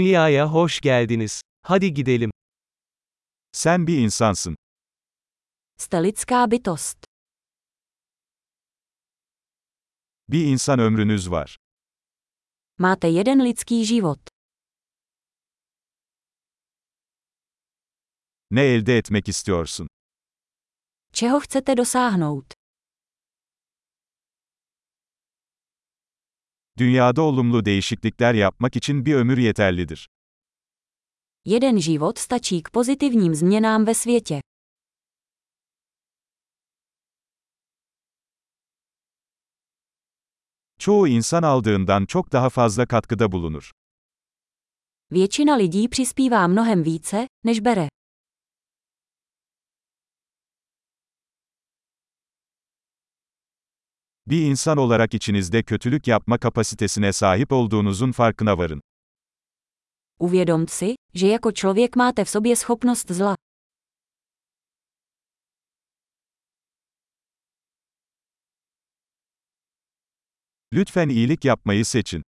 Dünyaya hoş geldiniz. Hadi gidelim. Sen bir insansın. Jste lidská bytost. Bir insan ömrünüz var. Máte jeden lidský život. Ne elde etmek istiyorsun? Čeho chcete dosáhnout? Dünyada olumlu değişiklikler yapmak için bir ömür yeterlidir. Jeden život stačí k pozitivním změnám ve světě. Çoğu insan aldığından çok daha fazla katkıda bulunur. Většina lidí přispívá mnohem více, než bere. Bir insan olarak içinizde kötülük yapma kapasitesine sahip olduğunuzun farkına varın. Uvědomte si, že jako člověk máte v sobě schopnost zla. Lütfen iyilik yapmayı seçin.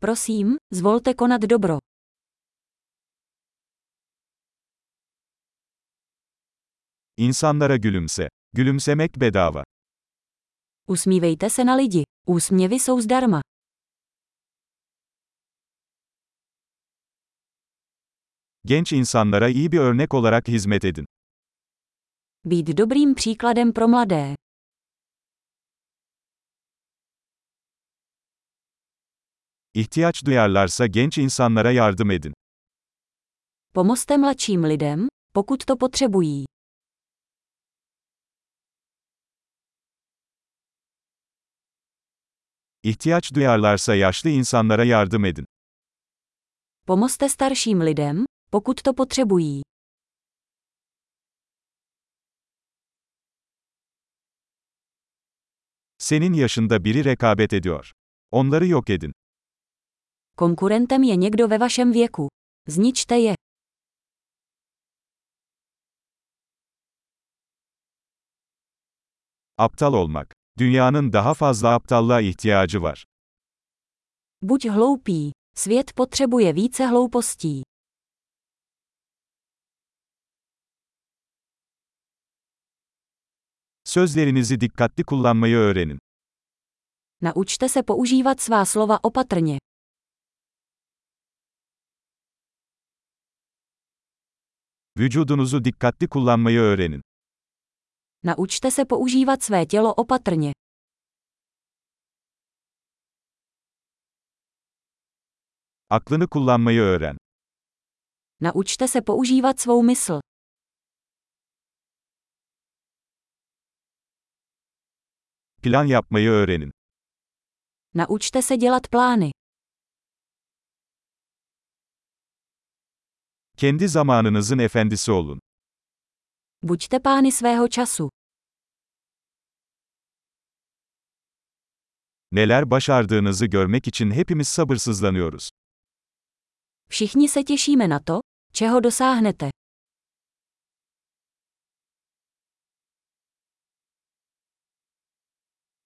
Prosím, zvolte konat dobro. İnsanlara gülümse. Gülümsemek bedava. Usmívejte se na lidi. Úsměvy jsou zdarma. Genç insanlara iyi bir örnek olarak hizmet edin. Být dobrým příkladem pro mladé. İhtiyaç duyarlarsa genç insanlara yardım edin. Pomozte mladším lidem, pokud to potřebují. İhtiyaç duyarlarsa yaşlı insanlara yardım edin. Pomozte starším lidem, pokud to potřebují. Senin yaşında biri rekabet ediyor. Onları yok edin. Konkurentem je někdo ve vašem věku. Zničte je. Aptal olmak. Dünyanın daha fazla aptallığa ihtiyacı var. Buď hloupý. Svět potřebuje více hloupostí. Sözlerinizi dikkatli kullanmayı öğrenin. Naučte se používat svá slova opatrně. Vücudunuzu dikkatli kullanmayı öğrenin. Naučte se používat své tělo opatrně. Aklını kullanmayı öğren. Naučte se používat svou mysl. Plan yapmayı öğrenin. Naučte se dělat plány. Kendi zamanınızın efendisi olun. Buďte pány svého času. Neler başardığınızı görmek için hepimiz sabırsızlanıyoruz. Všichni se těšíme na to, čeho dosáhnete.